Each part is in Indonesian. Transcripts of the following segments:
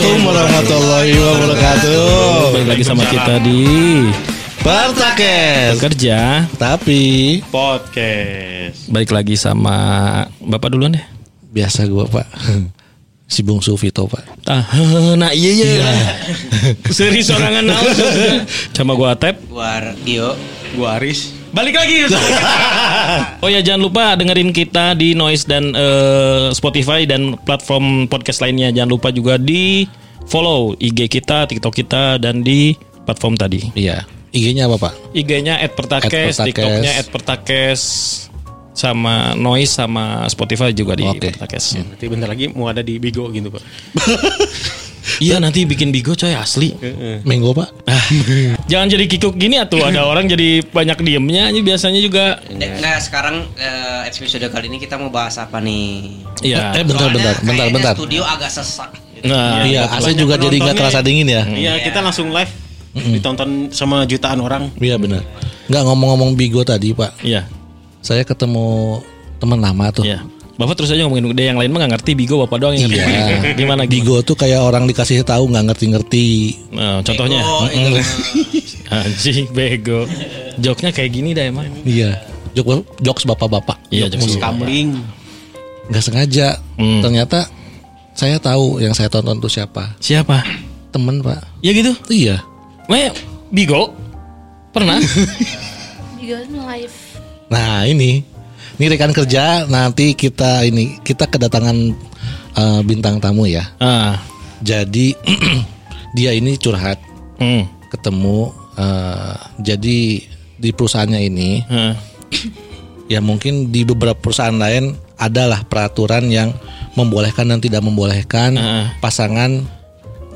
warahmatullahi wabarakatuh. Balik lagi sama kita di Pertakes. Kerja Tapi Podcast. Balik lagi sama Bapak duluan deh biasa gua Pak. Si Bungsu Vito Pak. Ah, nah iya iya Seri sorangan naon Sama gua tap War Gio Gua Aris. Balik ya, lagi. Oh ya jangan lupa dengerin kita di Noise dan eh, Spotify dan platform podcast lainnya Jangan lupa juga di follow IG kita, TikTok kita dan di platform tadi Iya. IG-nya apa Pak? IG-nya @pertakes, Pertakes. TikToknya @pertakes sama noise sama Spotify juga di Oke. Pertakes. Nanti bentar lagi mau ada di Bigo gitu, Pak. Iya nanti bikin bigo coy asli. Menggo Pak. Jangan jadi kikuk gini atuh ada orang jadi banyak diemnya ini biasanya juga. Nah sekarang eh, episode kali ini kita mau bahas apa nih? Eh, Iya. bentar Soalnya bentar, bentar kayaknya bentar. Studio agak sesak. gitu. Nah, Iya, AC juga jadi nggak terasa dingin ya. Iya, kita langsung live ditonton sama jutaan orang. Iya benar. Nggak ngomong-ngomong Bigo tadi Pak. iya. Saya ketemu teman lama tuh. Iya. Bapak terus aja ngomongin dia yang lain mah gak ngerti bigo bapak doang yang ngerti. Iya. Gimana Bigo bigo? tuh kayak orang dikasih tahu nggak ngerti-ngerti. Nah, contohnya Oh, itu. anjing bego. Joknya kayak gini dah emang. Iya. Jok jokes bapak-bapak. Iya, Jokes jokes. Kamling. nggak sengaja Hmm. ternyata saya tahu yang saya tonton tuh siapa Siapa? temen pak Ya gitu. iya Meh bigo pernah Beyond Life. nah ini ini rekan kerja nanti kita ini kita kedatangan eh, bintang tamu ya ah jadi dia ini curhat hmm ketemu eh, jadi di perusahaannya ini ah. ya mungkin di beberapa perusahaan lain adalah peraturan yang membolehkan dan tidak membolehkan Heeh. pasangan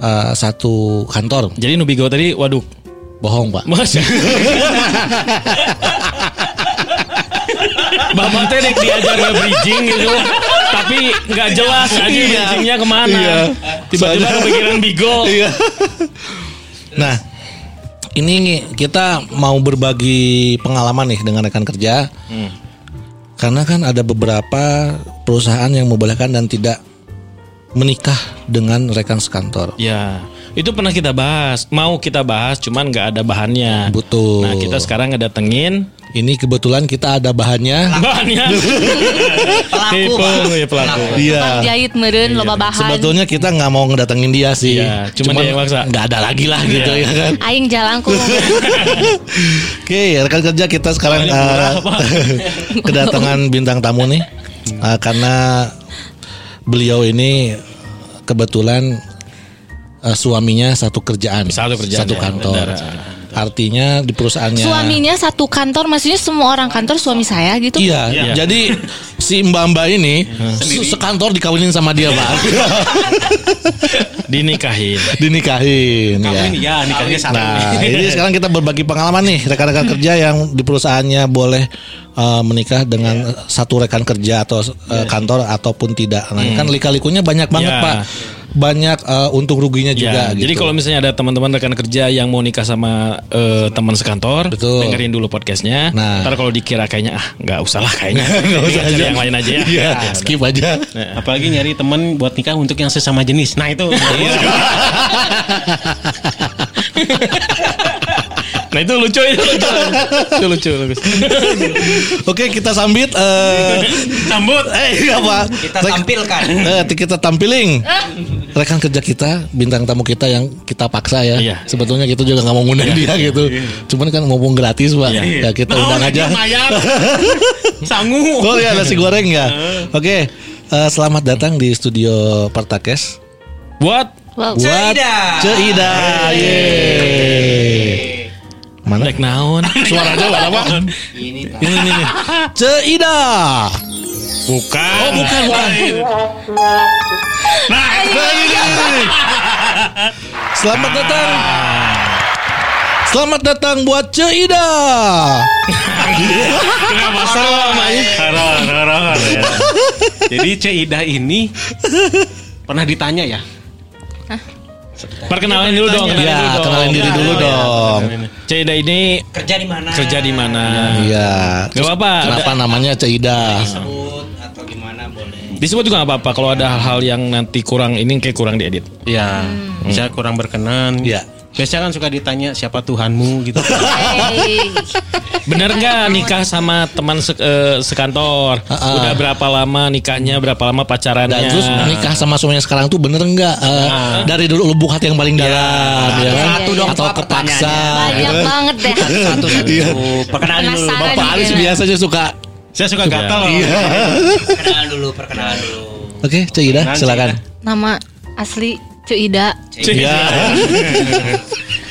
eh, satu kantor jadi nu bigo tadi waduk bohong pak Mas. Bapak teh dek diajar nge-bridging gitu Tapi nggak jelas aja Iya. bridgingnya kemana Tiba-tiba kepikiran bigo Iya. Nah, ini kita mau berbagi pengalaman nih dengan rekan kerja. Hmm. Karena kan ada beberapa perusahaan yang membolehkan dan tidak menikah dengan rekan sekantor. Ya itu pernah kita bahas Mau kita bahas cuman nggak ada bahannya Betul. Nah kita sekarang ngedatengin Ini kebetulan kita ada bahannya. Bahannya Ah. Pelaku, Tipe Pak. ya pelaku Bang jahit meren loba Iya. bahan. Sebetulnya kita nggak mau ngedatengin dia sih. Iya, cuman dia yang maksa. Iya. Nggak ada lagi lah gitu ya kan. Aing jalan ku Iya. Oke, rekan kerja kita sekarang Soalnya murah, uh, kedatangan bintang tamu nih Uh, karena beliau ini kebetulan uh, suaminya satu kerjaan, Satu kerjaan, ya, kantor. benar. Artinya di perusahaannya suaminya satu kantor, maksudnya semua orang kantor suami saya gitu. Iya, Iya. jadi si mbak-mbak ini se- sekantor dikawinin sama dia, Pak. Dinikahin Dinikahin Kamling ya. iya. ya, nikahnya satu. Nah, ini sekarang kita berbagi pengalaman nih rekan-rekan Hmm. kerja yang di perusahaannya boleh eh, menikah Iya. dengan satu rekan kerja atau eh, kantor ataupun tidak. Nah, Hmm. kan lika-likunya banyak banget, Ya. Pak. Banyak eh, untung ruginya juga Ya, gitu. Jadi kalau misalnya ada teman-teman rekan kerja yang mau nikah sama eh, teman sekantor, Betul. dengerin dulu podcastnya. Nah. Ntar kalau dikira kayaknya ah nggak usah lah kayaknya, Mendingan Iya, cari yang lain aja ya. Iya. Iya, skip aja. Apalagi nyari teman buat nikah untuk yang sesama jenis. Nah, itu. Nah itu lucu itu lucu, itu lucu. bagus. Oke, kita sambit eh Sambut. eh apa? Kita Rek- tampilkan. Eh, kita tampilin rekan kerja kita, bintang tamu kita yang kita paksa ya. Iya. Sebetulnya kita juga nggak mau ngundang dia gitu. Cuman kan ngomong gratis pak, ya Iya. kita undang aja. Eh. Mayat. Sangu. Oh ya nasi goreng ya. Oke, eh, selamat datang di studio Pertakes. Buat Wow. Buat Ceida. Ceida. Yeay. Mana? Dek naon Suaranya lah apa? Ini Pak. Ini ini. ini. Ceida. Bukan Oh bukan bukan. Nah Nah, ini, ini, ini. Selamat datang. Selamat datang buat Ceida. Iya. kenapa seru namanya Horor, horor, horor, ya. Jadi Ceida ini pernah ditanya ya? Perkenalan dulu dong Ya, kenalin diri dulu Iya. dong. Ceida ini Kerja di mana? kerja di mana Iya. Gak apa-apa Kenapa namanya Ceida? Sebut atau gimana boleh. Disebut juga nggak apa-apa kalau ada hal-hal yang nanti kurang ini kayak kurang diedit. Iya, saya kurang berkenan. Iya. Biasanya kan suka ditanya siapa Tuhanmu gitu. Hey. Bener nggak nikah sama teman se- eh, sekantor? Heeh. Udah berapa lama nikahnya? Berapa lama pacarannya? Dan terus nikah sama suaminya sekarang tuh bener nggak eh, dari dulu lubuk hati yang paling dalam, ya, kan? Satu dong, atau Pak, terpaksa. pertanyaannya. gitu Banyak kan? banget deh. Satu satu. Perkenalan dulu. Penasaran. gitu ya. Bapak. Pak Aris Gimana? biasanya suka. saya suka gatal. Perkenalan dulu, perkenalan dulu. Oke, Cik Ida, Perkenalan, silakan. Nama asli Cuida. Iya.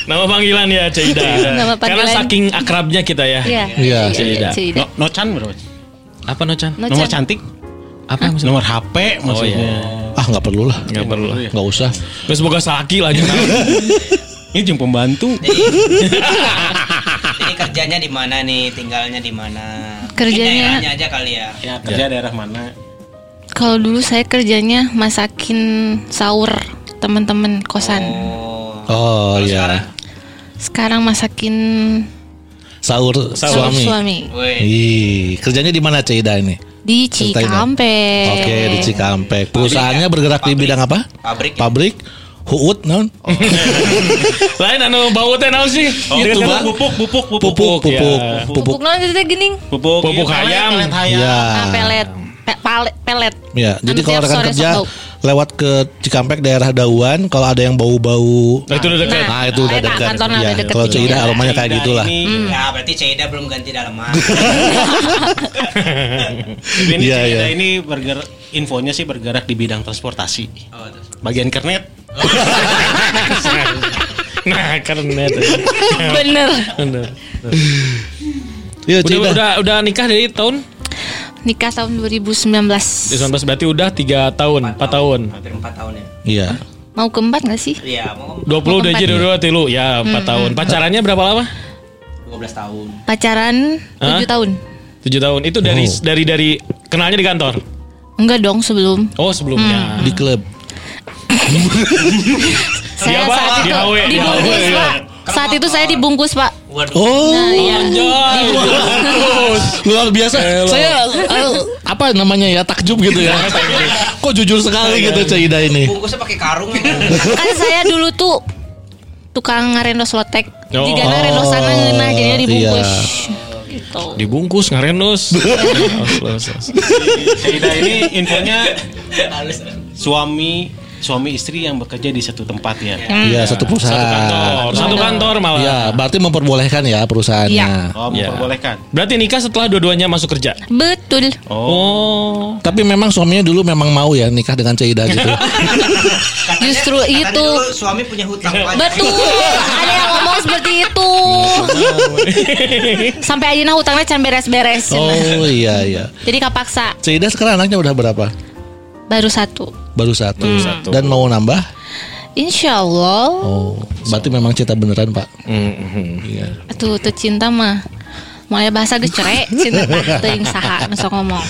Nama panggilan ya Ceida. Nama Karena panggilan. saking akrabnya kita ya. Iya. Iya. Cuida. Cuida. No, Nocan berapa? Apa Nocan? Nocan. Nomor cantik? Apa maksudnya? Nomor HP maksudnya. Ah, nggak perlu lah. Nggak perlu lah. Nggak usah. Terus boga laki lagi. Ini jeng pembantu. Ini kerjanya di mana nih? Tinggalnya di mana? Kerjanya- Ini daerahnya aja kali ya. Ya, kerja daerah mana? Kalau dulu saya kerjanya masakin sahur teman-teman kosan. Oh. Oh Terus sekarang? iya. Sekarang masakin Sahur, sahur suami. Iya. Woi. Ih, kerjanya di mana Cik Ida ini? di Ceritain dong. Cikampek. Oke, di Cikampek. Perusahaannya bergerak di bidang apa? Pabrik. ya? Pabrik. Huut, non? Lain anu bau teh naon sih? Gitu, kan Pak. pupuk, pupuk, pupuk, Pupuk, ya. pupuk, pupuk. Pupuk nanti teh gening. pupuk, Pupuk iya, ayam. pelet ayam. Nah, Ya. pelet. Pe- pale- pelet. Ya, jadi Nanti kalau Kan tiap rekan sore kerja sok bau. lewat ke Cikampek daerah Dauan, kalau ada yang bau-bau Nah, itu udah dekat. Nah, itu udah Eh, Pak, dekat. kantornya Ya, udah dekat kalau gitu. Cik Ida aromanya kayak Ida gitulah. Iya, ini- Ya berarti Ceda belum ganti dalaman. Ini Iya, cerita iya. ini bergerak infonya sih bergerak di bidang transportasi. Oh, terus. Bagian kernet. Nah, karena Bener. Bener. Yuk, Cik Udah, Ida. udah, udah nikah dari tahun Nikah tahun 2019. 19 berarti udah 3 tahun, 4 tahun. Hampir 4 tahun ya. Iya. Mau keempat gak sih? Iya, mau 20 udah Empat. jadi dua tilu ya 4 tahun. Pacarannya berapa lama? 12 tahun. Pacaran Hah? 7 tahun. 7 tahun. Itu dari Oh. dari dari kenalnya di kantor. Enggak dong sebelum. Oh, Mm. sebelumnya. Nah. Di klub. Saya apa? saat Di itu HW. dibungkus, Di HW. Pak. Saat itu saya dibungkus, Pak. Waduh. Oh, Nah, iya. luar biasa. Saya eh, apa namanya ya takjub gitu ya. Nah, Kok jujur sekali gitu iya. Cik Ida ini. Bungkusnya pakai karung. ya. Kan saya dulu tuh tukang ngarendos lotek. Oh. Jika ngarendos sana ngeunah nah, jadinya dibungkus. Gitu. Iya. Dibungkus ngarenus. Nah, oh, Cerita ini infonya Halus. suami suami istri yang bekerja di satu tempat ya. Iya, satu perusahaan. Nah, Satu kantor, satu kantor malah. Iya, berarti memperbolehkan ya perusahaannya. Iya. Oh, Iya. memperbolehkan. Berarti nikah setelah dua-duanya masuk kerja. Betul. Oh. Tapi memang suaminya dulu memang mau ya nikah dengan Ceida gitu. Katanya- Justru katanya itu. dulu suami punya hutang banyak. Betul. Ada yang ngomong seperti itu. Sampai aja hutangnya can beres-beres. oh iya iya. Jadi kapaksa Ceida sekarang anaknya udah berapa? baru satu. Baru satu. Dan mau nambah? Insya Allah. Oh, berarti memang cita beneran pak. Iya. Tuh, tuh cinta mah. Mulai bahasa geus cere, cinta tah teuing saha nu sok ngomong.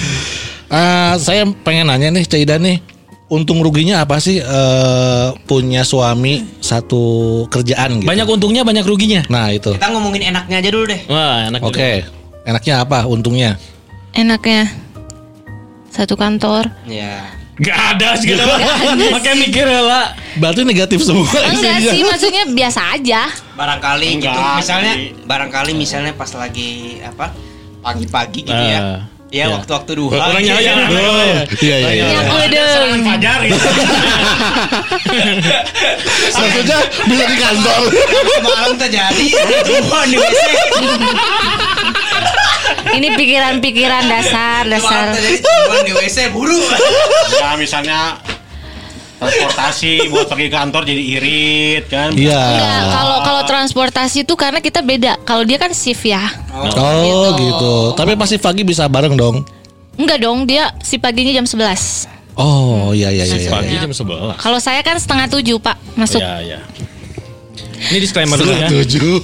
Ah, saya pengen nanya nih Ceida nih. Untung ruginya apa sih eh, punya suami satu kerjaan gitu? Banyak untungnya, banyak ruginya. Nah itu. Kita ngomongin enaknya aja dulu deh. Wah, enak. Oke. Enaknya apa? Untungnya? Enaknya satu kantor. Iya. Gak ada segitu. Makanya mikir lah. Berarti negatif semua. Enggak isinya. sih, maksudnya biasa aja. Barangkali gitu. Enggak, Misalnya sih. barangkali misalnya pas lagi apa? Pagi-pagi gitu Ah, ya. Ya, iya. waktu-waktu duha. Orangnya ya. gitu. aja. Iya iya. iya. Yang eudeung. Fajar gitu. Maksudnya bisa di kantor. Semalam terjadi duha di WC. Ini pikiran-pikiran dasar, Semalam dasar. Iya. terjadi duha di WC buru. Ya misalnya transportasi buat pergi kantor jadi irit kan. Iya. Enggak, kalau kalau transportasi itu karena kita beda. Kalau dia kan shift ya. Oh gitu. Tapi pasti pagi bisa bareng dong. Enggak dong, dia si paginya jam 11. Oh iya iya iya. iya. Pagi jam 11. Kalau saya kan setengah tujuh pak masuk. Iya, iya. Ini disclaimer dulu ya.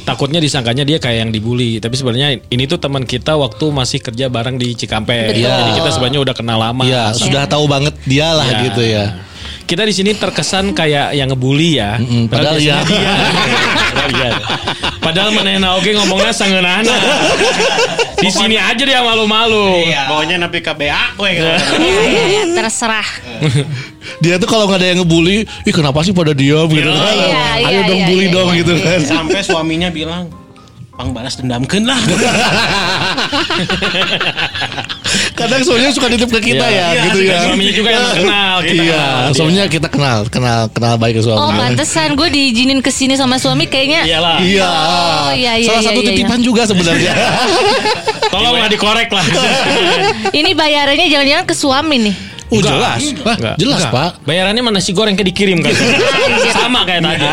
Takutnya disangkanya dia kayak yang dibully, tapi sebenarnya ini tuh teman kita waktu masih kerja bareng di Cikampek. Betul. Jadi kita sebenarnya udah kenal lama. Iya sudah tahu banget dia lah Ya. gitu ya. Kita di sini terkesan kayak yang ngebully ya. Mm-mm, padahal biasanya ya. dia. Iya. Padahal menena oke ngomongnya sangeunana. Di sini aja dia malu-malu. Iya. Maunya napi ke BA gue Iya, terserah. Dia tuh kalau nggak ada yang ngebully, ih kenapa sih pada diam gitu kan? Iya, iya, Ayo dong iya, bully iya, dong iya. gitu kan. Sampai suaminya bilang Pang balas dendamkan lah Kadang suaminya suka nitip ke kita Iya, ya, iya, gitu ya. suaminya juga yang kenal, kita Iya, kenal dia. suaminya kita kenal, kenal, kenal baik ke suami. Oh, pantesan gue diizinin kesini sama suami kayaknya. Iyalah. Iya. Oh, iya, iya, Salah iya, satu iya, titipan juga sebenarnya. Tolonglah dikorek lah. Ini bayarannya jangan-jangan ke suami nih. Oh, jelas. Lah, Enggak. jelas, Enggak. Pak. Bayarannya mana nasi goreng kayak dikirim kan. Sama kayak tadi.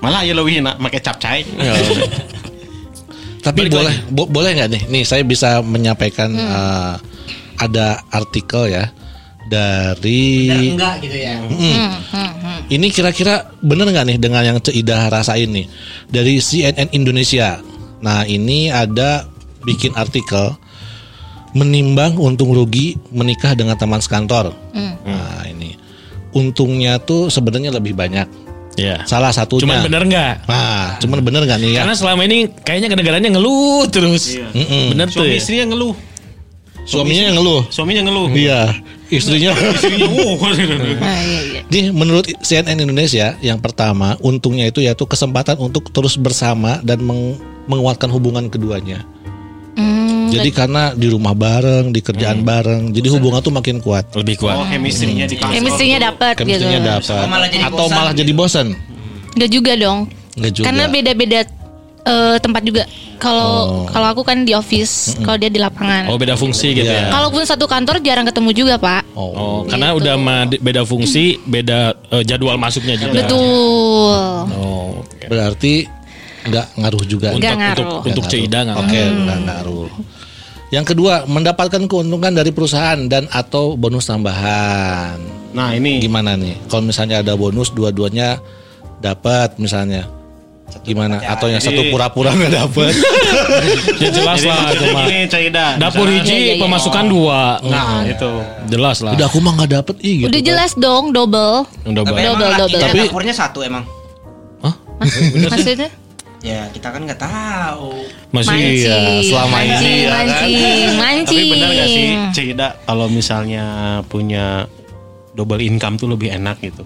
Malah ya lebih enak pakai capcay Iya. Tapi Balik boleh bo- boleh nggak nih? Nih saya bisa menyampaikan Hmm. eh, ada artikel ya dari Biar enggak gitu ya. ini kira-kira bener nggak nih dengan yang Ceidah rasain nih dari CNN Indonesia. Nah ini ada bikin artikel menimbang untung rugi menikah dengan teman sekantor. Nah ini untungnya tuh sebenarnya lebih banyak. Iya. Salah satunya. Cuman bener nggak? Nah, cuman bener nggak nih ya? Karena selama ini kayaknya kedengarannya ngeluh terus. Mm-mm. Iya. Bener tuh. ya? Suami istrinya ngeluh Suaminya yang ngeluh. Suaminya ngeluh Iya, istrinya. Istrinya uh Nah, iya, iya. Jadi menurut CNN Indonesia, yang pertama untungnya itu yaitu kesempatan untuk terus bersama dan meng- menguatkan hubungan keduanya. Hmm, Jadi karena di rumah bareng, di kerjaan bareng, jadi hubungan tuh makin kuat. Hmm. Lebih Oh kuat. chemistry-nya di kantor chemistry-nya dapat gitu. Chemistry-nya dapat. Atau malah jadi Atau bosan. malah jadi bosan. Enggak juga dong. Nggak juga. Karena beda-beda eh, tempat juga. Oh. Kalau kalau aku kan di office, kalau dia di lapangan. Oh beda fungsi gitu Iya. ya. Kalaupun satu kantor jarang ketemu juga, Pak. Oh. Oh, karena Gitu. udah ma- beda fungsi, beda eh, jadwal masuknya juga. Betul. Oh, oke. Berarti nggak ngaruh juga. Untuk Nggak untuk ngaruh. untuk Nggak Ceida ngaruh. nggak Oke, nggak ngaruh. Yang kedua, mendapatkan keuntungan dari perusahaan dan atau bonus tambahan. Nah ini gimana nih? Kalau misalnya ada bonus dua-duanya dapat misalnya gimana? Atau yang satu Jadi- pura-pura nggak dapat? Ya jelas Jadi lah itu maksudnya mah. gini Caida Dapur hiji Iya, iya, iya. pemasukan dua. Nah itu Jelas lah. Udah aku mah nggak dapat ih gitu. Udah kan. jelas dong double. Udah Tapi baik. Double, emang double. lakinya Tapi- dapurnya satu emang. Maksudnya? Ya kita kan nggak tahu. Masih Mancing, iya, selama ini mancing, ya kan? mancing, Tapi mancing. benar gak sih Ceida Kalau misalnya punya Double income tuh lebih enak gitu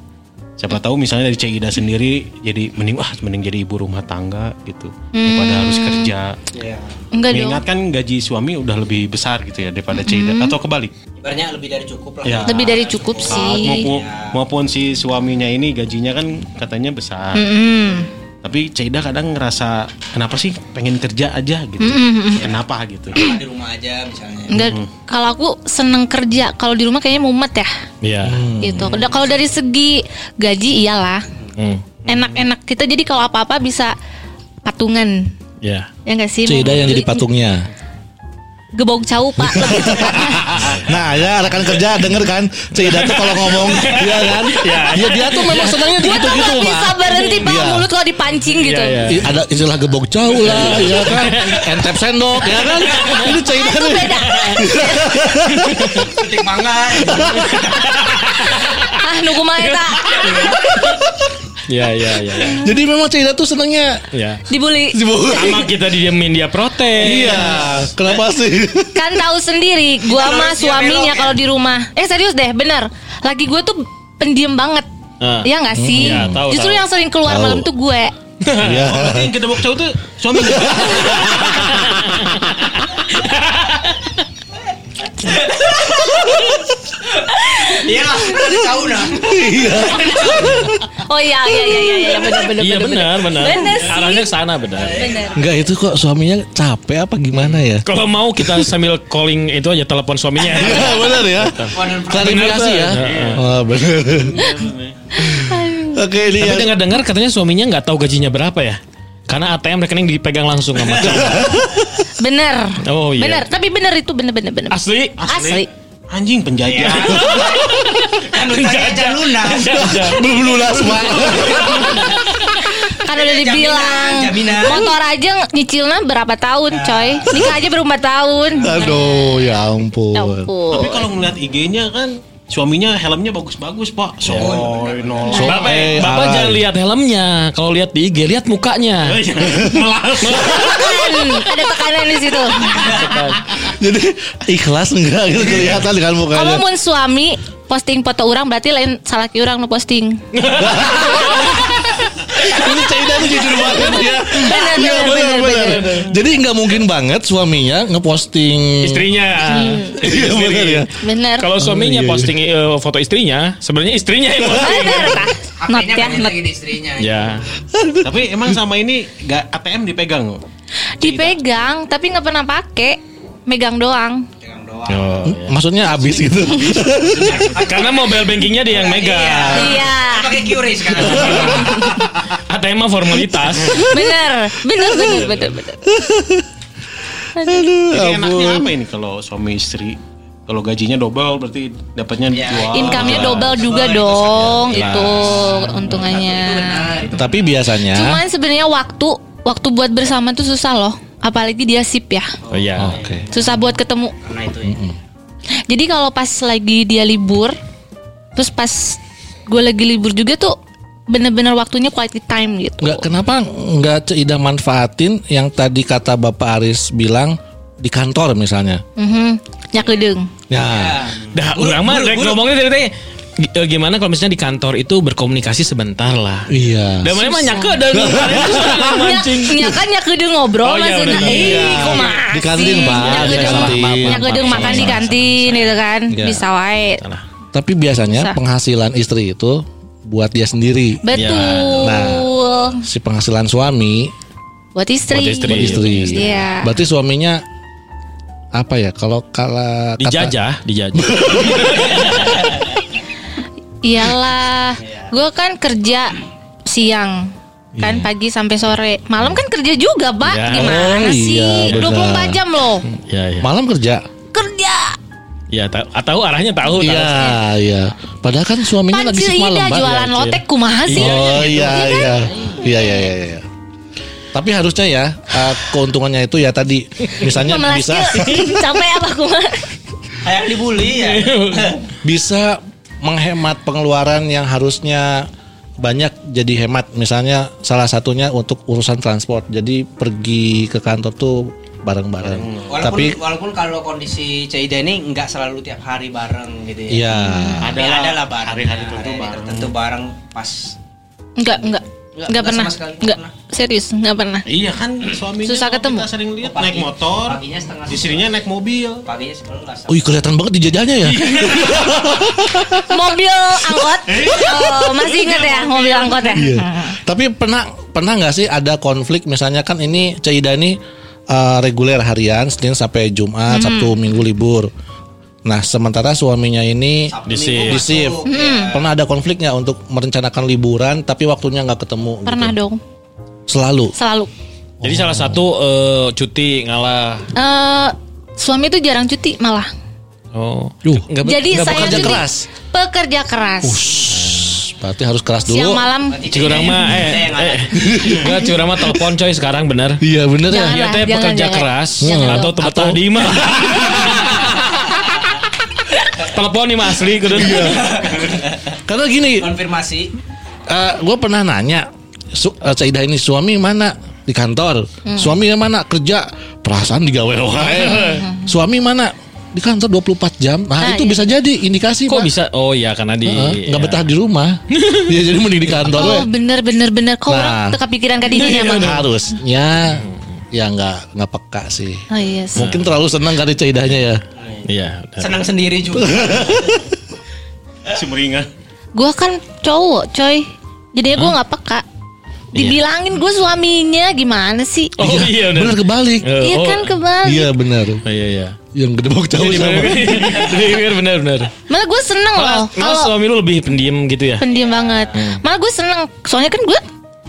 Siapa tahu misalnya dari Ceida sendiri Jadi mending wah mending jadi ibu rumah tangga gitu Daripada harus kerja Ya. Enggak dong. Mengingat kan gaji suami udah lebih besar gitu ya Daripada Ceida Atau kebalik Ibaratnya lebih dari cukup lah. Iya. Ya. Lebih dari cukup Ah, sih. maupun, maupun si suaminya ini gajinya kan katanya besar Mm-mm. Tapi Ceida kadang ngerasa Kenapa sih pengen kerja aja gitu Kenapa gitu Di rumah aja misalnya. Enggak. Kalau aku seneng kerja, kalau di rumah kayaknya mumet ya. Iya. Gitu. Udah, Kalau dari segi gaji iyalah. Hmm. Enak-enak kita jadi kalau apa-apa bisa patungan. Iya. Ya enggak sih? Ceda yang jadi Duit- patungnya. Gebong cau, Pak. Lebih tepatnya. Nah ya rekan kerja denger kan Ceda tuh kalau ngomong Iya kan Iya dia tuh memang senangnya Gua tuh gitu-gitu nggak bisa Pak berhenti Pak Iya. mulut kalau dipancing gitu. Iya, I- ada istilah gebok jauh lah, ya kan, entep sendok, ya kan, ini Ceda Itu nih. beda. Petik mangga. ah, nunggu mana tak? Iya, iya, iya. Jadi memang Ceda tuh senangnya Iya. Dibully. Sama kita didiemin dia protes. Iya, kenapa sih? Kan tahu sendiri, gua Kalau mah dia suaminya belok ya. kalau di rumah. Eh serius deh, bener. Lagi gue tuh pendiam banget. Ah. Iya nggak sih? Iya, tahu, Justru tahu. yang sering keluar Tahu. malam tuh gue. Iya. Berarti yang kedebok cowok tuh suami Iya lah. Di tahu nah. Oh iya iya iya iya, iya bener bener. Iya bener, benar, benar. Bener sih. Arahnya ke sana benar. Bener. Enggak itu kok suaminya capek apa gimana ya? Kalau mau kita sambil calling itu aja telepon suaminya. Iya benar ya. Klarifikasi ya. Oh, benar. Oke ini ya. Tapi yang dengar-dengar katanya suaminya nggak tahu gajinya berapa ya? Karena ATM rekening dipegang langsung sama cowok. Bener. Oh, iya. Ah. Bener. Tapi bener itu bener bener bener. Asli. Asli. Anjing penjajah Kan lu tanya aja Luna. belum lunas pak. Kan udah dibilang jaminan. motor aja nyicilnya berapa tahun, coy? Nikah aja berumah tahun. Aduh ya ampun. Ya ampun. Tapi kalau ngeliat IG-nya kan suaminya helmnya bagus-bagus pak so Iya. no So- Bapak, eh, Bapak alay. jangan lihat helmnya. Kalau lihat di IG, lihat Iya, mukanya. Hmm, ada tekanan di situ. Jadi ikhlas enggak gitu kelihatan kan mukanya. Kamu mun suami posting foto orang berarti lain salah ki orang nu posting. Ini Caida tuh jujur banget ya. Benar, Iya, benar, benar, benar. Jadi nggak mungkin banget suaminya ngeposting Istrinya. Iya benar ya. Bener. Kalau Oh, iya, suaminya iya. posting eh, foto istrinya, sebenarnya istrinya yang posting. Bener tah. Not Akhirnya ya, banyak not. lagi di istrinya. Iya. ya. tapi emang sama ini gak ATM dipegang Dipegang tapi nggak pernah pakai. Megang doang. Jangan doang. Iya. Oh. Maksudnya abis gitu. Karena mobile bankingnya dia yang megang. Iya. Kan Pakai QRIS sekarang. ATM mah formalitas. Bener, bener, bener, bener, bener. Aduh, Jadi enaknya ampun. apa ini kalau suami istri kalau gajinya double berarti dapatnya Ya. dua. Income-nya double juga itu dong, itu untungannya. Itu benar. Itu Tapi biasanya Cuman sebenarnya waktu waktu buat bersama tuh susah loh, apalagi dia sip ya. Oh iya. Oke. Susah buat ketemu. karena itu ya. Jadi kalau pas lagi dia libur, terus pas gue lagi libur juga tuh bener-bener waktunya quality time gitu. Nggak kenapa nggak Ceida manfaatin yang tadi kata Bapak Aris bilang di kantor misalnya. Mhm, nyakedeng. Ya. Dah, orang mah rek ngomongnya dari tadi. G- eh, Gimana kalau misalnya di kantor itu berkomunikasi sebentar lah. Iya. Dan mana banyak ke dan mancing. Nya- Nya kan nyakedeng ngobrol Oh, iya, maksudnya. bener. Ih, Iya. kok mah Di kantin, asik. Pak, Iya, di Nyakedeng- kantin. Nyakedeng makan di kantin gitu kan. Iya. Bisa wae. Tapi biasanya Susah. penghasilan istri itu buat dia sendiri. Betul. Nah. Si penghasilan suami Buat istri. Buat istri. buat istri. Iya. Berarti suaminya apa ya? Kalau kala kata- Dijajah, dijajah. Iya, Iyalah, gue kan kerja siang Iya. kan pagi sampai sore, malam kan kerja juga, Pak. Ya. Gimana Oh, sih? iya, benar. 24 jam loh Ya, ya. malam kerja. kerja. Ya, ta- tahu arahnya tahu. tahu. Iya, iya. Padahal kan suaminya lagi Pancil shift malam, Ida Mbak. jualan iya. lotek kumaha sih? Oh iya iya. Iya iya iya iya. Tapi harusnya ya eh, keuntungannya itu ya tadi misalnya Iya, Memelas bisa yuk. capek apa kumaha? Kayak dibully ya. bisa menghemat pengeluaran yang harusnya banyak jadi hemat misalnya salah satunya untuk urusan transport. Jadi pergi ke kantor tuh bareng-bareng. Walaupun Tapi walaupun kalau kondisi Caida ini nggak selalu tiap hari bareng gitu ya. iya. Ada Ada- ada lah bareng. hari-hari tertentu Hari-hari bareng. tertentu bareng pas Enggak, enggak. Enggak, Enggak enggak pernah. sama sekali, enggak Enggak. pernah. Serius, enggak pernah. Iya kan suaminya Susah kalau ketemu. Kita sering lihat Pagi- naik motor, paginya setengah istrinya naik mobil. paginya sebelas. Gitu. Wih kelihatan banget dijajahnya ya. Iya. Mobil angkot. Oh, masih inget ya mobil angkot ya? Iya. Tapi pernah pernah nggak sih ada konflik misalnya kan ini Caida ini eh, reguler harian Senin sampai Jumat, Hmm. Sabtu Minggu libur. Nah, sementara suaminya ini Di Sabtu, shift. Minggu di masuk, shift. Iya. ya. Pernah ada konflik nggak untuk merencanakan liburan tapi waktunya nggak ketemu? gitu? Pernah dong, Selalu. selalu. Jadi salah satu eh, cuti ngalah. Eh, suami tuh jarang cuti malah. Oh. Yuh. Nggak be- Jadi nggak saya bekerja tuh nih, keras. Pekerja keras. Shhh, Berarti harus keras dulu. Siang malam Berarti Curang Caida mah yang- eh, Caida yang eh. Enggak curang mah telepon coy sekarang bener. Iya bener ya. Jangan. Iya teh jangan, pekerja jangan. keras Jangan atau dong. tempat tadi mah. Telepon nih mah asli kudu. Karena gini, konfirmasi Iya. gue Eh, pernah nanya su- eh, Caidah ini suami mana di kantor Hmm. suaminya mana kerja perasaan digawe wae Hmm. suami mana di kantor 24 jam nah, Ah, itu iya. bisa jadi indikasi Kok Pak. bisa? Iya, Oh ya karena di Heeh, nggak ya. betah di rumah ya jadi mending di kantor we. Oh bener bener bener Kok Nah. Iya, orang teka pikiran ya, ke dirinya mah harusnya ya nggak nggak peka sih Oh iya sih. Nah. mungkin terlalu senang kali Caidahnya ya Iya. bener. senang sendiri juga. Si meringa. Gue kan cowok coy Jadinya gue gak peka Dibilangin gue suaminya gimana sih Oh iya bener. bener kebalik Eh, Iya oh, kan kebalik iya benar oh, Iya iya. yang gede bau jauh Jadi sama bener bener bener. Malah gue seneng Malah, loh malah Kalau suami lu lebih pendiam gitu ya. pendiam banget Malah gue seneng Soalnya kan gue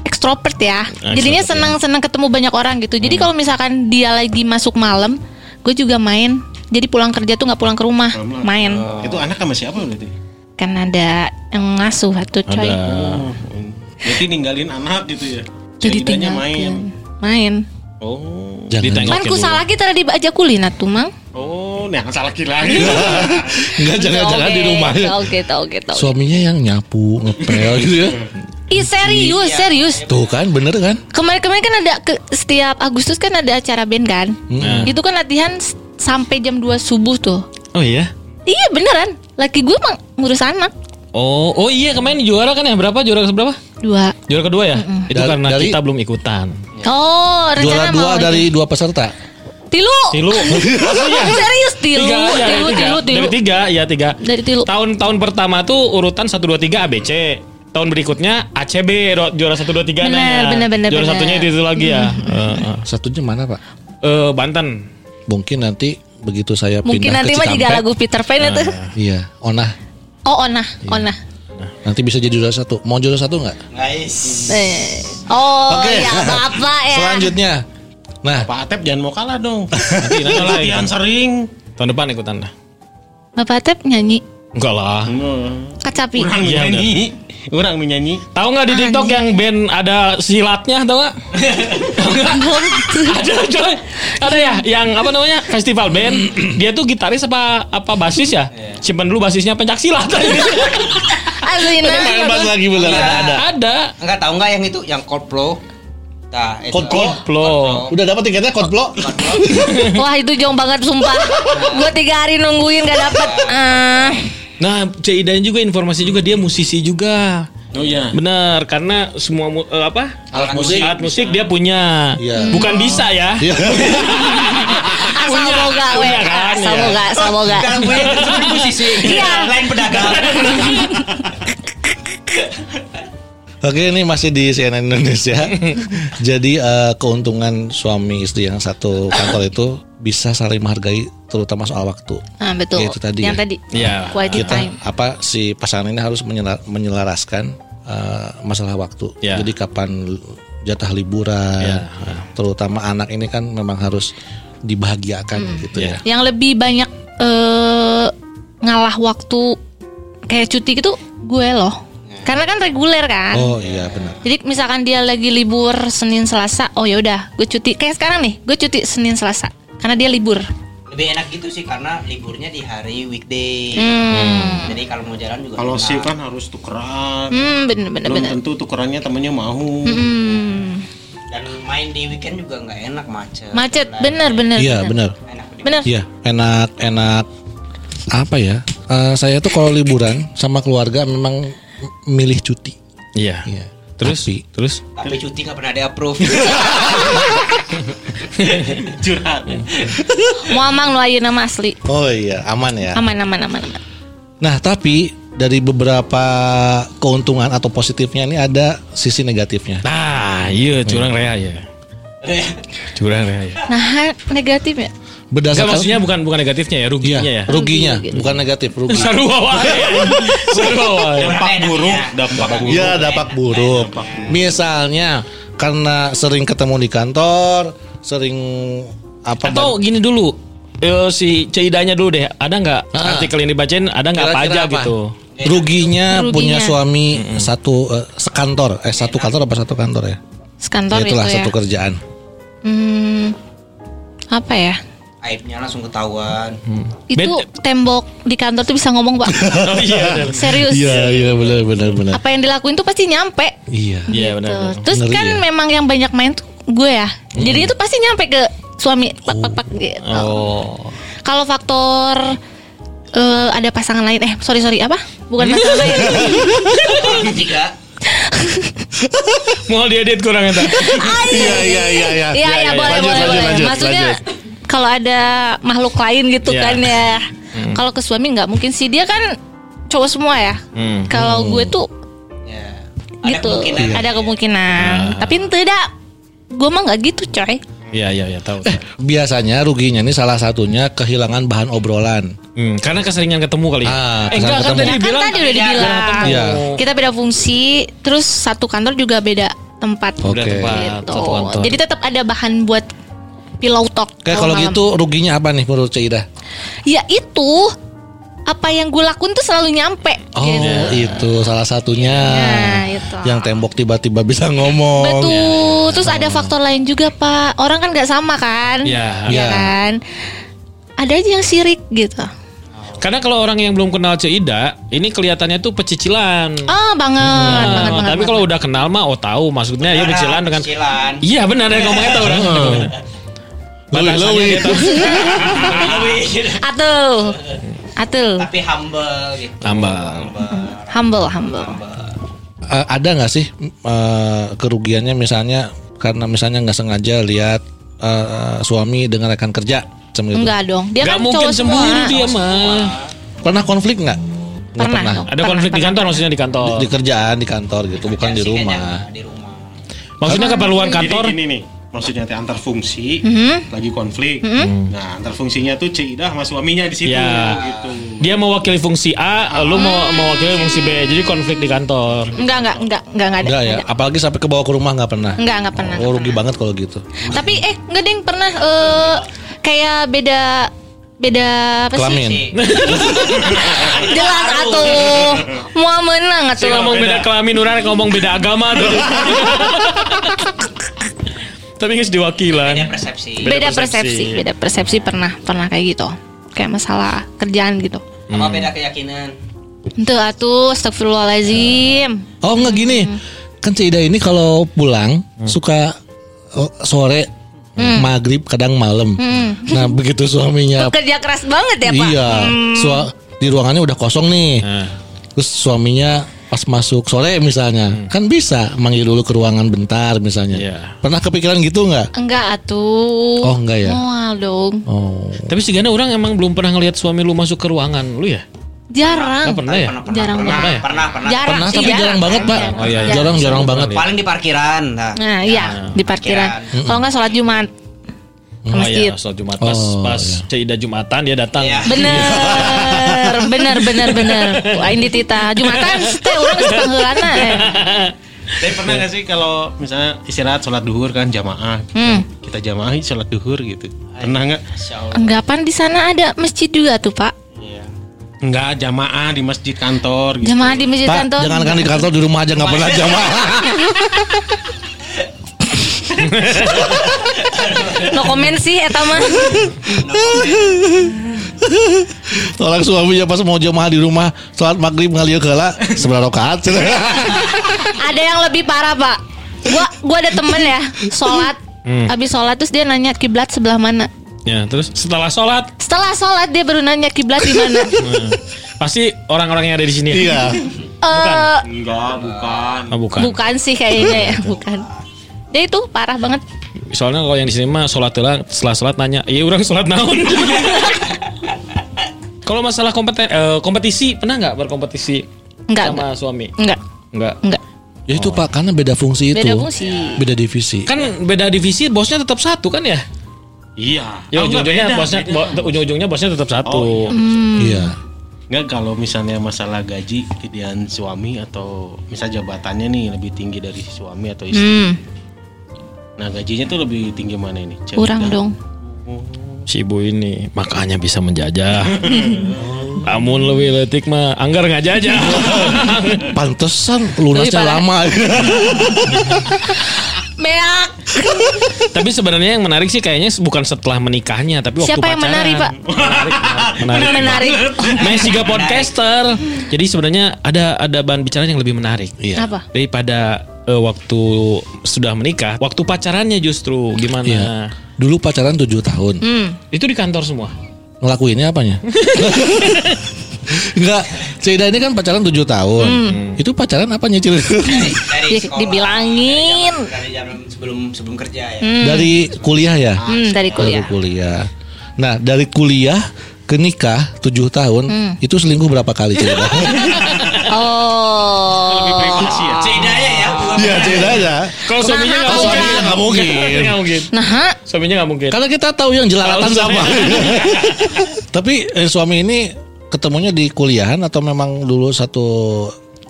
ekstrovert ya Jadinya Extrovert, seneng-seneng ketemu banyak orang gitu Jadi kalau misalkan dia lagi masuk malam Gue juga main Jadi pulang kerja tuh gak pulang ke rumah Main Itu anak sama siapa berarti? Kan ada yang ngasuh tuh coy Ada. Oh, berarti ninggalin anak gitu ya. Jadi Ceritanya tinggal main. main. Oh. jangan Ditengok. Kan Oke, ku dulu. salah kita tadi baca kulina tuh mang. Oh, yang salah kira gitu. Enggak jangan-jangan di rumahnya. Oke, tau, oke, tau. Suaminya yang nyapu, ngepel gitu ya. Ih, serius, serius. Tuh kan bener kan? Kemarin-kemarin kan ada ke- setiap Agustus kan ada acara band kan. Itu kan latihan s- sampai jam 2 subuh tuh. Oh iya. Iya beneran. Laki gue emang ngurus anak. Oh, oh iya kemarin juara kan ya berapa? Juara berapa? Dua. Juara kedua ya? Itu Dari- karena dari- kita belum ikutan. Oh, Juara rencana dua mau dari dua peserta. Tilu. Tilu. Maksudnya? Serius tilu, Tiga aja, tilu, tiga. tilu, tilu. Dari tiga, ya tiga. Dari tilu. Tahun-tahun pertama tuh urutan 1 2 3 ABC. Tahun berikutnya ACB ro- juara 1 2 3 Benar, benar, benar, ya. Juara benar. Mm-hmm. satunya itu, itu lagi ya. Eh, eh. Satunya mana pak? Eh, Banten. Mungkin nanti begitu saya Mungkin pindah nanti ke mah Cikampek. juga lagu Peter Pan itu. Iya, onah. Oh, onah, onah. Nanti bisa jadi juara satu. Mau juara satu nggak? Guys. Eh. Oh, Oke. ya bapak ya. Selanjutnya. Nah, Pak Atep jangan mau kalah dong. Nanti, nanti lah, ikutan. Latihan sering. Tahun depan ikutan lah. Bapak Tep nyanyi Enggak lah. kacapi. Kurang Iya, menyanyi. Kurang menyanyi. Tahu nggak di TikTok yang band ada silatnya tahu nggak? ada coy. Ada ya yang apa namanya? Festival band. Dia tuh gitaris apa apa basis ya? Simpen dulu basisnya pencak silat. Azina. Iya, bas lagi beneran ada. ada. Enggak tahu enggak yang itu yang Coldplay. Nah, itu. Coldplay? Oh. Koplo. Udah dapat tiketnya Kotblo? Wah, itu jong banget sumpah. Gua tiga hari nungguin gak dapet. Ah. Nah, Caidan juga informasi juga dia musisi juga. Oh iya. Benar, karena semua mu- eh, apa? Alat musik. Alat musik dia punya. Iya. Bukan bisa ya. Iya. Asal Ah, Punya, boga we. punya kan, Asal ya. boga, asal boga. Sekarang gue yang seperti musisi. Iya. Lain pedagang. Oke, ini masih di CNN Indonesia. Jadi eh, keuntungan suami istri yang satu kantor itu bisa saling menghargai terutama soal waktu. Ah, betul. Ya, itu tadi Yang ya. tadi. Iya. Quality Kita time. apa si pasangan ini harus menyela- menyelaraskan eh, masalah waktu. Ya. Jadi kapan jatah liburan, Ya. terutama anak ini kan memang harus dibahagiakan gitu iya. ya. Yang lebih banyak eh ngalah waktu kayak cuti gitu gue loh. Karena kan reguler kan. Oh iya benar. Jadi misalkan dia lagi libur Senin Selasa, oh ya udah, gue cuti. Kayak sekarang nih, gue cuti Senin Selasa karena dia libur. Lebih enak gitu sih karena liburnya di hari weekday. Jadi kalau mau jalan juga Kalau enak. sih kan harus tukeran. Hmm, Iya, bener bener Belum bener. tentu tukerannya temennya mau. Hmm, dan main di weekend juga nggak enak macet. macet, Lain. bener bener. Iya benar. bener. Enak di Bener. Iya, enak-enak apa ya? Eh, saya tuh kalau liburan sama keluarga memang m- milih cuti. Iya. Iya. Terus Tapi, terus tapi cuti nggak pernah di approve. Curhat. Mau amang lu ayeuna nama asli. oh iya, aman ya. Aman aman aman. aman. Nah, tapi dari beberapa keuntungan atau positifnya ini ada sisi negatifnya. Nah, iya curang rea ya. Curang rea ya. Nah, ha- negatif ya. Enggak Berdasarkan maksudnya bukan bukan negatifnya ya, Iya, ruginya ya. Iya, ruginya, Rugi, rugi. bukan negatif, rugi. Seru wae. Seru wae. Dampak buruk. Iya. Dampak buruk. Iya, dampak buruk. Misalnya karena sering ketemu di kantor, sering apa Atau gini dulu, eh, si Ceidanya dulu deh. Ada nggak Ah. artikel yang dibacain? Ada nggak apa aja Kira-kira apa? gitu? Ruginya, Ruginya. punya suami satu eh, sekantor, eh satu kantor apa satu kantor ya? Ya, Sekantor itu itulah ya. satu kerjaan. Hmm, apa ya? Aibnya langsung ketahuan. Itu tembok di kantor tuh bisa ngomong, Pak. Oh iya. Serius. iya benar benar benar. Apa yang dilakuin tuh pasti nyampe. Iya. Iya benar. Tuh. benar. Terus Ngeri kan ya. Hmm. memang yang banyak main tuh gue ya. Jadi itu pasti nyampe ke suami pak pak pak gitu. Oh. Kalau faktor eh, ada pasangan lain eh sorry sorry apa? Bukan pasangan lain. Tiga. Mau diedit kurang ya, eta. Iya iya iya iya. Iya ya, boleh Lanjut, boleh lanjut, boleh. lanjut, Maksudnya lanjut. kalau ada makhluk lain gitu Iya. kan ya. Hmm. Kalau ke suami nggak mungkin sih dia kan cowok semua ya. Hmm. Kalau gue tuh Ya. Ada gitu kemungkinan. ada kemungkinan. Iya. Tapi tidak gue mah nggak gitu coy. Iya iya iya tahu. Biasanya ruginya ini salah satunya kehilangan bahan obrolan. Hmm, karena keseringan ketemu kali. Ah, eh enggak kan keseringan ketemu. tadi bilang. kan tadi udah Iya, dibilang Iya. kita beda fungsi terus satu kantor juga beda tempat Oke. Udah tempat gitu. satu kantor. jadi tetap ada bahan buat pillow talk Kayak kalau malam. gitu ruginya apa nih menurut Ceida? ya itu apa yang gue lakuin tuh selalu nyampe Oh, gitu. itu salah satunya. Nah, itu. Yang tembok tiba-tiba bisa Oh, ngomong. iya, betul terus ada faktor lain juga pak orang kan nggak sama kan Iya. Iya Iya. kan ada aja yang sirik gitu. Karena kalau orang yang belum kenal Ceida, ini kelihatannya tuh pecicilan. Oh banget, Nah, banget, banget. tapi kalau udah kenal mah oh tahu maksudnya ya pecicilan dengan Cicilan. Iya benar yang ngomongnya tahu Oh. orang. Batasannya gitu. dia tahu. Atuh, atuh, Tapi humble gitu. Tambah. Humble. humble, humble. Gitu. Eh, ada nggak sih eh, kerugiannya misalnya karena misalnya nggak sengaja lihat eh, suami dengan rekan kerja semua itu. Enggak dong, dia Gak kan mungkin cowok semua. sembunyi dia mah. Pernah konflik nggak? Nggak Pernah dong. Ada konflik di kantor maksudnya di kantor. Di kerjaan di kantor gitu, bukan di Sih kayaknya rumah. Di rumah. Maksudnya keperluan Jadi kantor. gini nih maksudnya teh antar fungsi Hmm. Mhm. lagi konflik nah antar fungsinya tuh Cidah sama suaminya di situ Ya. gitu Dia mewakili fungsi A, lu mau Ah. mewakili fungsi B. Jadi konflik di kantor. Enggak, enggak, enggak, enggak, enggak ada. Enggak ya, enggak ada. apalagi sampai ke bawah ke rumah nggak pernah. Nggak, nggak pernah, Oh, nggak rugi pernah. banget kalau gitu. Tapi eh enggak ding pernah eh kayak beda beda apa sih? Kelamin. Sih. Jelas atuh. Mau menang Saya atuh. ngomong beda kelamin orang ngomong beda agama tuh. Tapi guys Beda diwakilan. persepsi. Beda persepsi. persepsi, beda persepsi pernah pernah kayak gitu. Kayak masalah kerjaan gitu. Sama beda keyakinan. Itu atuh, astagfirullahalazim. Oh nggak gini, Hmm. kan Cida ini kalau pulang Hmm. suka eh, sore, Hmm. maghrib, kadang malam. Nah begitu suaminya, Kerja keras banget Hmm. ya, Pak. iya, sua- di ruangannya udah kosong nih. Hmm. Nah. Terus suaminya pas masuk sore misalnya, kan bisa manggil dulu ke ruangan bentar misalnya. Hmm. Iya. Pernah kepikiran gitu nggak? Enggak atuh. Oh, enggak ya? Mual dong. Oh, Tapi sih Gana orang emang belum pernah ngelihat suami lu masuk ke ruangan lu ya? Nggak Jarang. pernah ya? Pernah, pernah, Jarang pernah, banget. pernah, pernah. Jarang. pernah sih, tapi jarang, banget pak. jarang, iya, iya. Jarang jarang Jarang banget. banget. Paling di parkiran. Nah. Nah, iya, di parkiran. Kalau enggak sholat Jumat ke Oh masjid. iya, sholat Jumat pas, Oh, pas Ceida Jumatan dia datang. Iya. Bener, bener, bener, bener. Lain di Tita. Jumatan, teh orang setengahana. Eh. tapi pernah gak sih kalau misalnya istirahat sholat duhur kan jamaah Hmm. kita jamaah yuk sholat duhur gitu pernah nggak Masya Allah. Anggapan di sana ada masjid juga tuh Pak. nggak jamaah di masjid kantor gitu Jemaah di masjid Pak, kantor. jangan kan di kantor di rumah aja nggak Iya. pernah jamaah. No comment sih, eta mah. Orang suaminya pas mau jamaah di rumah sholat maghrib ngalieu kela sebelah rakaat. Ada yang lebih parah Pak. Gua, gua ada temen ya, sholat. Habis sholat terus dia nanya kiblat sebelah mana. Ya, terus setelah sholat Setelah sholat dia baru nanya kiblat di mana. pasti orang-orang yang ada di sini. ya? Iya. Eh, enggak bukan Oh, bukan. bukan sih kayaknya ya, bukan. Dia itu parah banget. Soalnya kalau yang di sini mah sholat lah, setelah sholat nanya, iya orang sholat naon. kalau masalah kompeten, eh, kompetisi pernah nggak berkompetisi Enggak, sama suami? Enggak, Enggak. enggak. Ya itu Pak karena beda fungsi itu. Beda fungsi. Beda divisi. Kan beda divisi bosnya tetap satu kan ya? iya Ya Oh, enggak, ujung-ujungnya beda, bosnya beda. bo- ujung-ujungnya bosnya tetap satu. Oh, iya. Hmm. Iya. Nggak kalau misalnya masalah gaji gedean suami atau misal jabatannya nih lebih tinggi dari si suami atau istri. Hmm, Nah gajinya tuh lebih tinggi mana ini? Cek dah. kurang dong. Si ibu ini makanya bisa menjajah. Amun lebih letik mah anggar nggak jajah. Pantesan lunasnya Tapi, Pak, lama. Meak. tapi sebenarnya yang menarik sih kayaknya bukan setelah menikahnya, tapi waktu Siapa yang pacaran. menarik, Pak? Menarik. menarik. Menarik. Messi gak podcaster. Jadi sebenarnya ada ada bahan bicara yang lebih menarik. Iya. Apa? Daripada eh, waktu sudah menikah, waktu pacarannya justru gimana? Iya. Dulu pacaran 7 tahun. Hmm. Itu di kantor semua. Ngelakuinnya apanya? Enggak, Cida ini kan pacaran 7 tahun. Hmm. Itu pacaran apanya, Cil? Dari Di- sekolah, dibilangin. Dari zaman sebelum sebelum kerja ya. Dari kuliah ya? Hmm, Dari dari kuliah. kuliah. Nah, dari kuliah ke nikah 7 tahun, Hmm. itu selingkuh berapa kali, Cil? Oh. Ceritanya ya. bukan Iya, Cida aja. Iya Kalau suaminya nggak Kenapa? Suaminya nggak mungkin. mungkin. Nggak mungkin. Nah, ha? Suaminya nggak mungkin. Karena kita tahu yang jelalatan Tahu sama. semuanya. Tapi eh, suami ini ketemunya di kuliahan atau memang dulu satu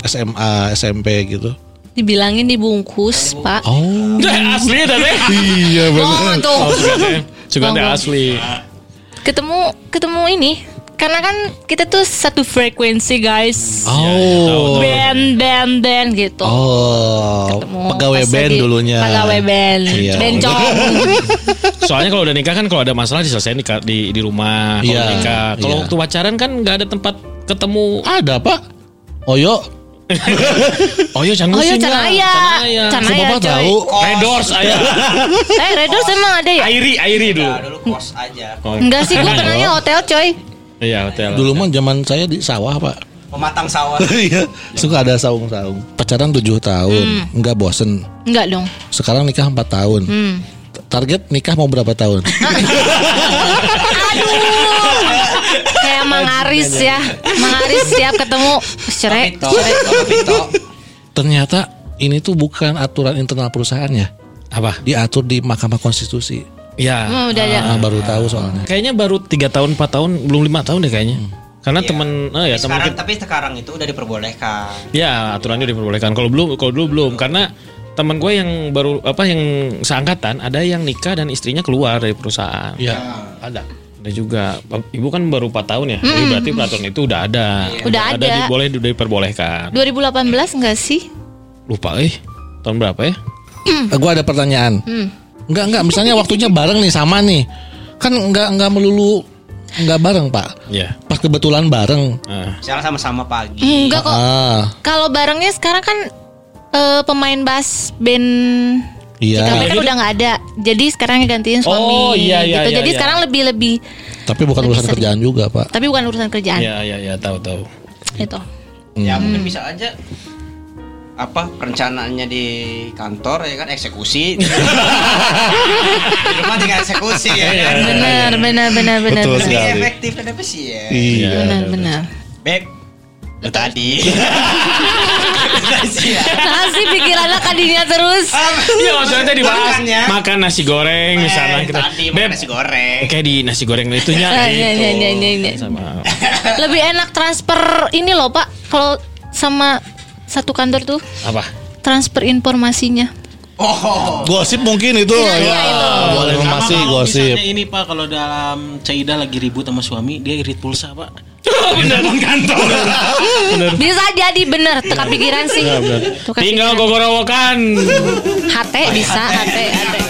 SMA, SMP gitu? dibilangin dibungkus, Pak. Oh. Teh, asli tadi. Iya Oh, benar. tuh. Juga teh ya? asli. Ketemu ketemu ini karena kan kita tuh satu frekuensi guys. Oh. Band band band gitu. Oh, Ketemu pegawai pas band ya. lagi dulunya. Pegawai band. Iya. Bencong. Soalnya kalau udah nikah kan kalau ada masalah diselesain di di, di rumah kalau Iya, nikah. Kalau iya. waktu pacaran kan nggak ada tempat ketemu. Ada pak? Oyo. Oh iya Oh iya canggusin Canaya. Iya, Canaya Semua ya, coy. tahu. Redors ayah. Eh Redors emang ada ya? Airi Airi dulu. Nah, dulu kos aja. Enggak sih gua kenalnya hotel coy. Iya hotel. Dulu mah zaman saya di sawah pak. Pematang sawah. Iya. Suka ada saung-saung. Pacaran 7 tahun, Hmm. nggak bosen. Enggak dong. Sekarang nikah 4 tahun. Hmm. Target nikah mau berapa tahun? Kayak Mang Aris ya. Mang Aris siap ketemu cerai. Pito, Bapak Pito. Ternyata ini tuh bukan aturan internal perusahaannya. Apa? Diatur di Mahkamah Konstitusi. Iya. Oh, udah ada. Ah, baru tahu soalnya. Kayaknya baru 3 tahun 4 tahun belum 5 tahun deh kayaknya. Karena Iya. temen eh ya Tapi temen sekarang, kita- tapi sekarang itu udah diperbolehkan. Ya aturannya diperbolehkan. Kalau belum, kalau dulu belum karena teman gue yang baru apa yang seangkatan ada yang nikah dan istrinya keluar dari perusahaan. Ah, Iya. Ada. Ada juga. Ibu kan baru 4 tahun ya. Hmm. Jadi Berarti peraturan itu udah ada. Iya. Udah ada. di- boleh udah diperbolehkan. 2018 enggak sih? Lupa eh tahun berapa ya? Hmm. Eh, Gua ada pertanyaan. Enggak enggak, misalnya waktunya bareng nih sama nih. Kan enggak enggak melulu enggak bareng, Pak. Iya. Pas kebetulan bareng. Ah. Sekarang sama-sama pagi. Enggak kok. Ah, Kalau barengnya sekarang kan eh, pemain bass band iya. TKB kan udah nggak ada. Jadi sekarang gantiin suami Ya. Oh, iya, iya, gitu. iya, jadi iya. sekarang lebih lebih Tapi bukan Lebih urusan sering. kerjaan juga, Pak. tapi bukan urusan Kan. kerjaan Iya iya iya tahu tahu. gitu. Ya mungkin Hmm. bisa aja apa perencanaannya di kantor ya kan eksekusi di rumah tinggal eksekusi Iya, ya kan Benar, benar, benar, benar. Betul lebih sekali. efektif dan apa sih ya Iya. Benar, benar. beb lu tadi Rahasia. Nah, sih pikirannya kadinya terus. Iya maksudnya tadi bahas Makan ya. makan nasi goreng misalnya Eh, kita. tadi Beb, makan nasi goreng kayak di nasi goreng itunya Ah, iya, gitu. iya, iya, iya, iya. Sama Lebih enak transfer ini loh, Pak. Kalau sama satu kantor tuh apa? transfer informasinya. oh Gosip mungkin itu. Ya. iya, itu. Boleh Sama masih kalau gosip. misalnya ini pak kalau dalam Caida lagi ribut sama suami dia irit pulsa pak. Bisa jadi bener teka pikiran sih. Teka Tinggal pikiran. gogorowokan. Hate bisa, hate, hate.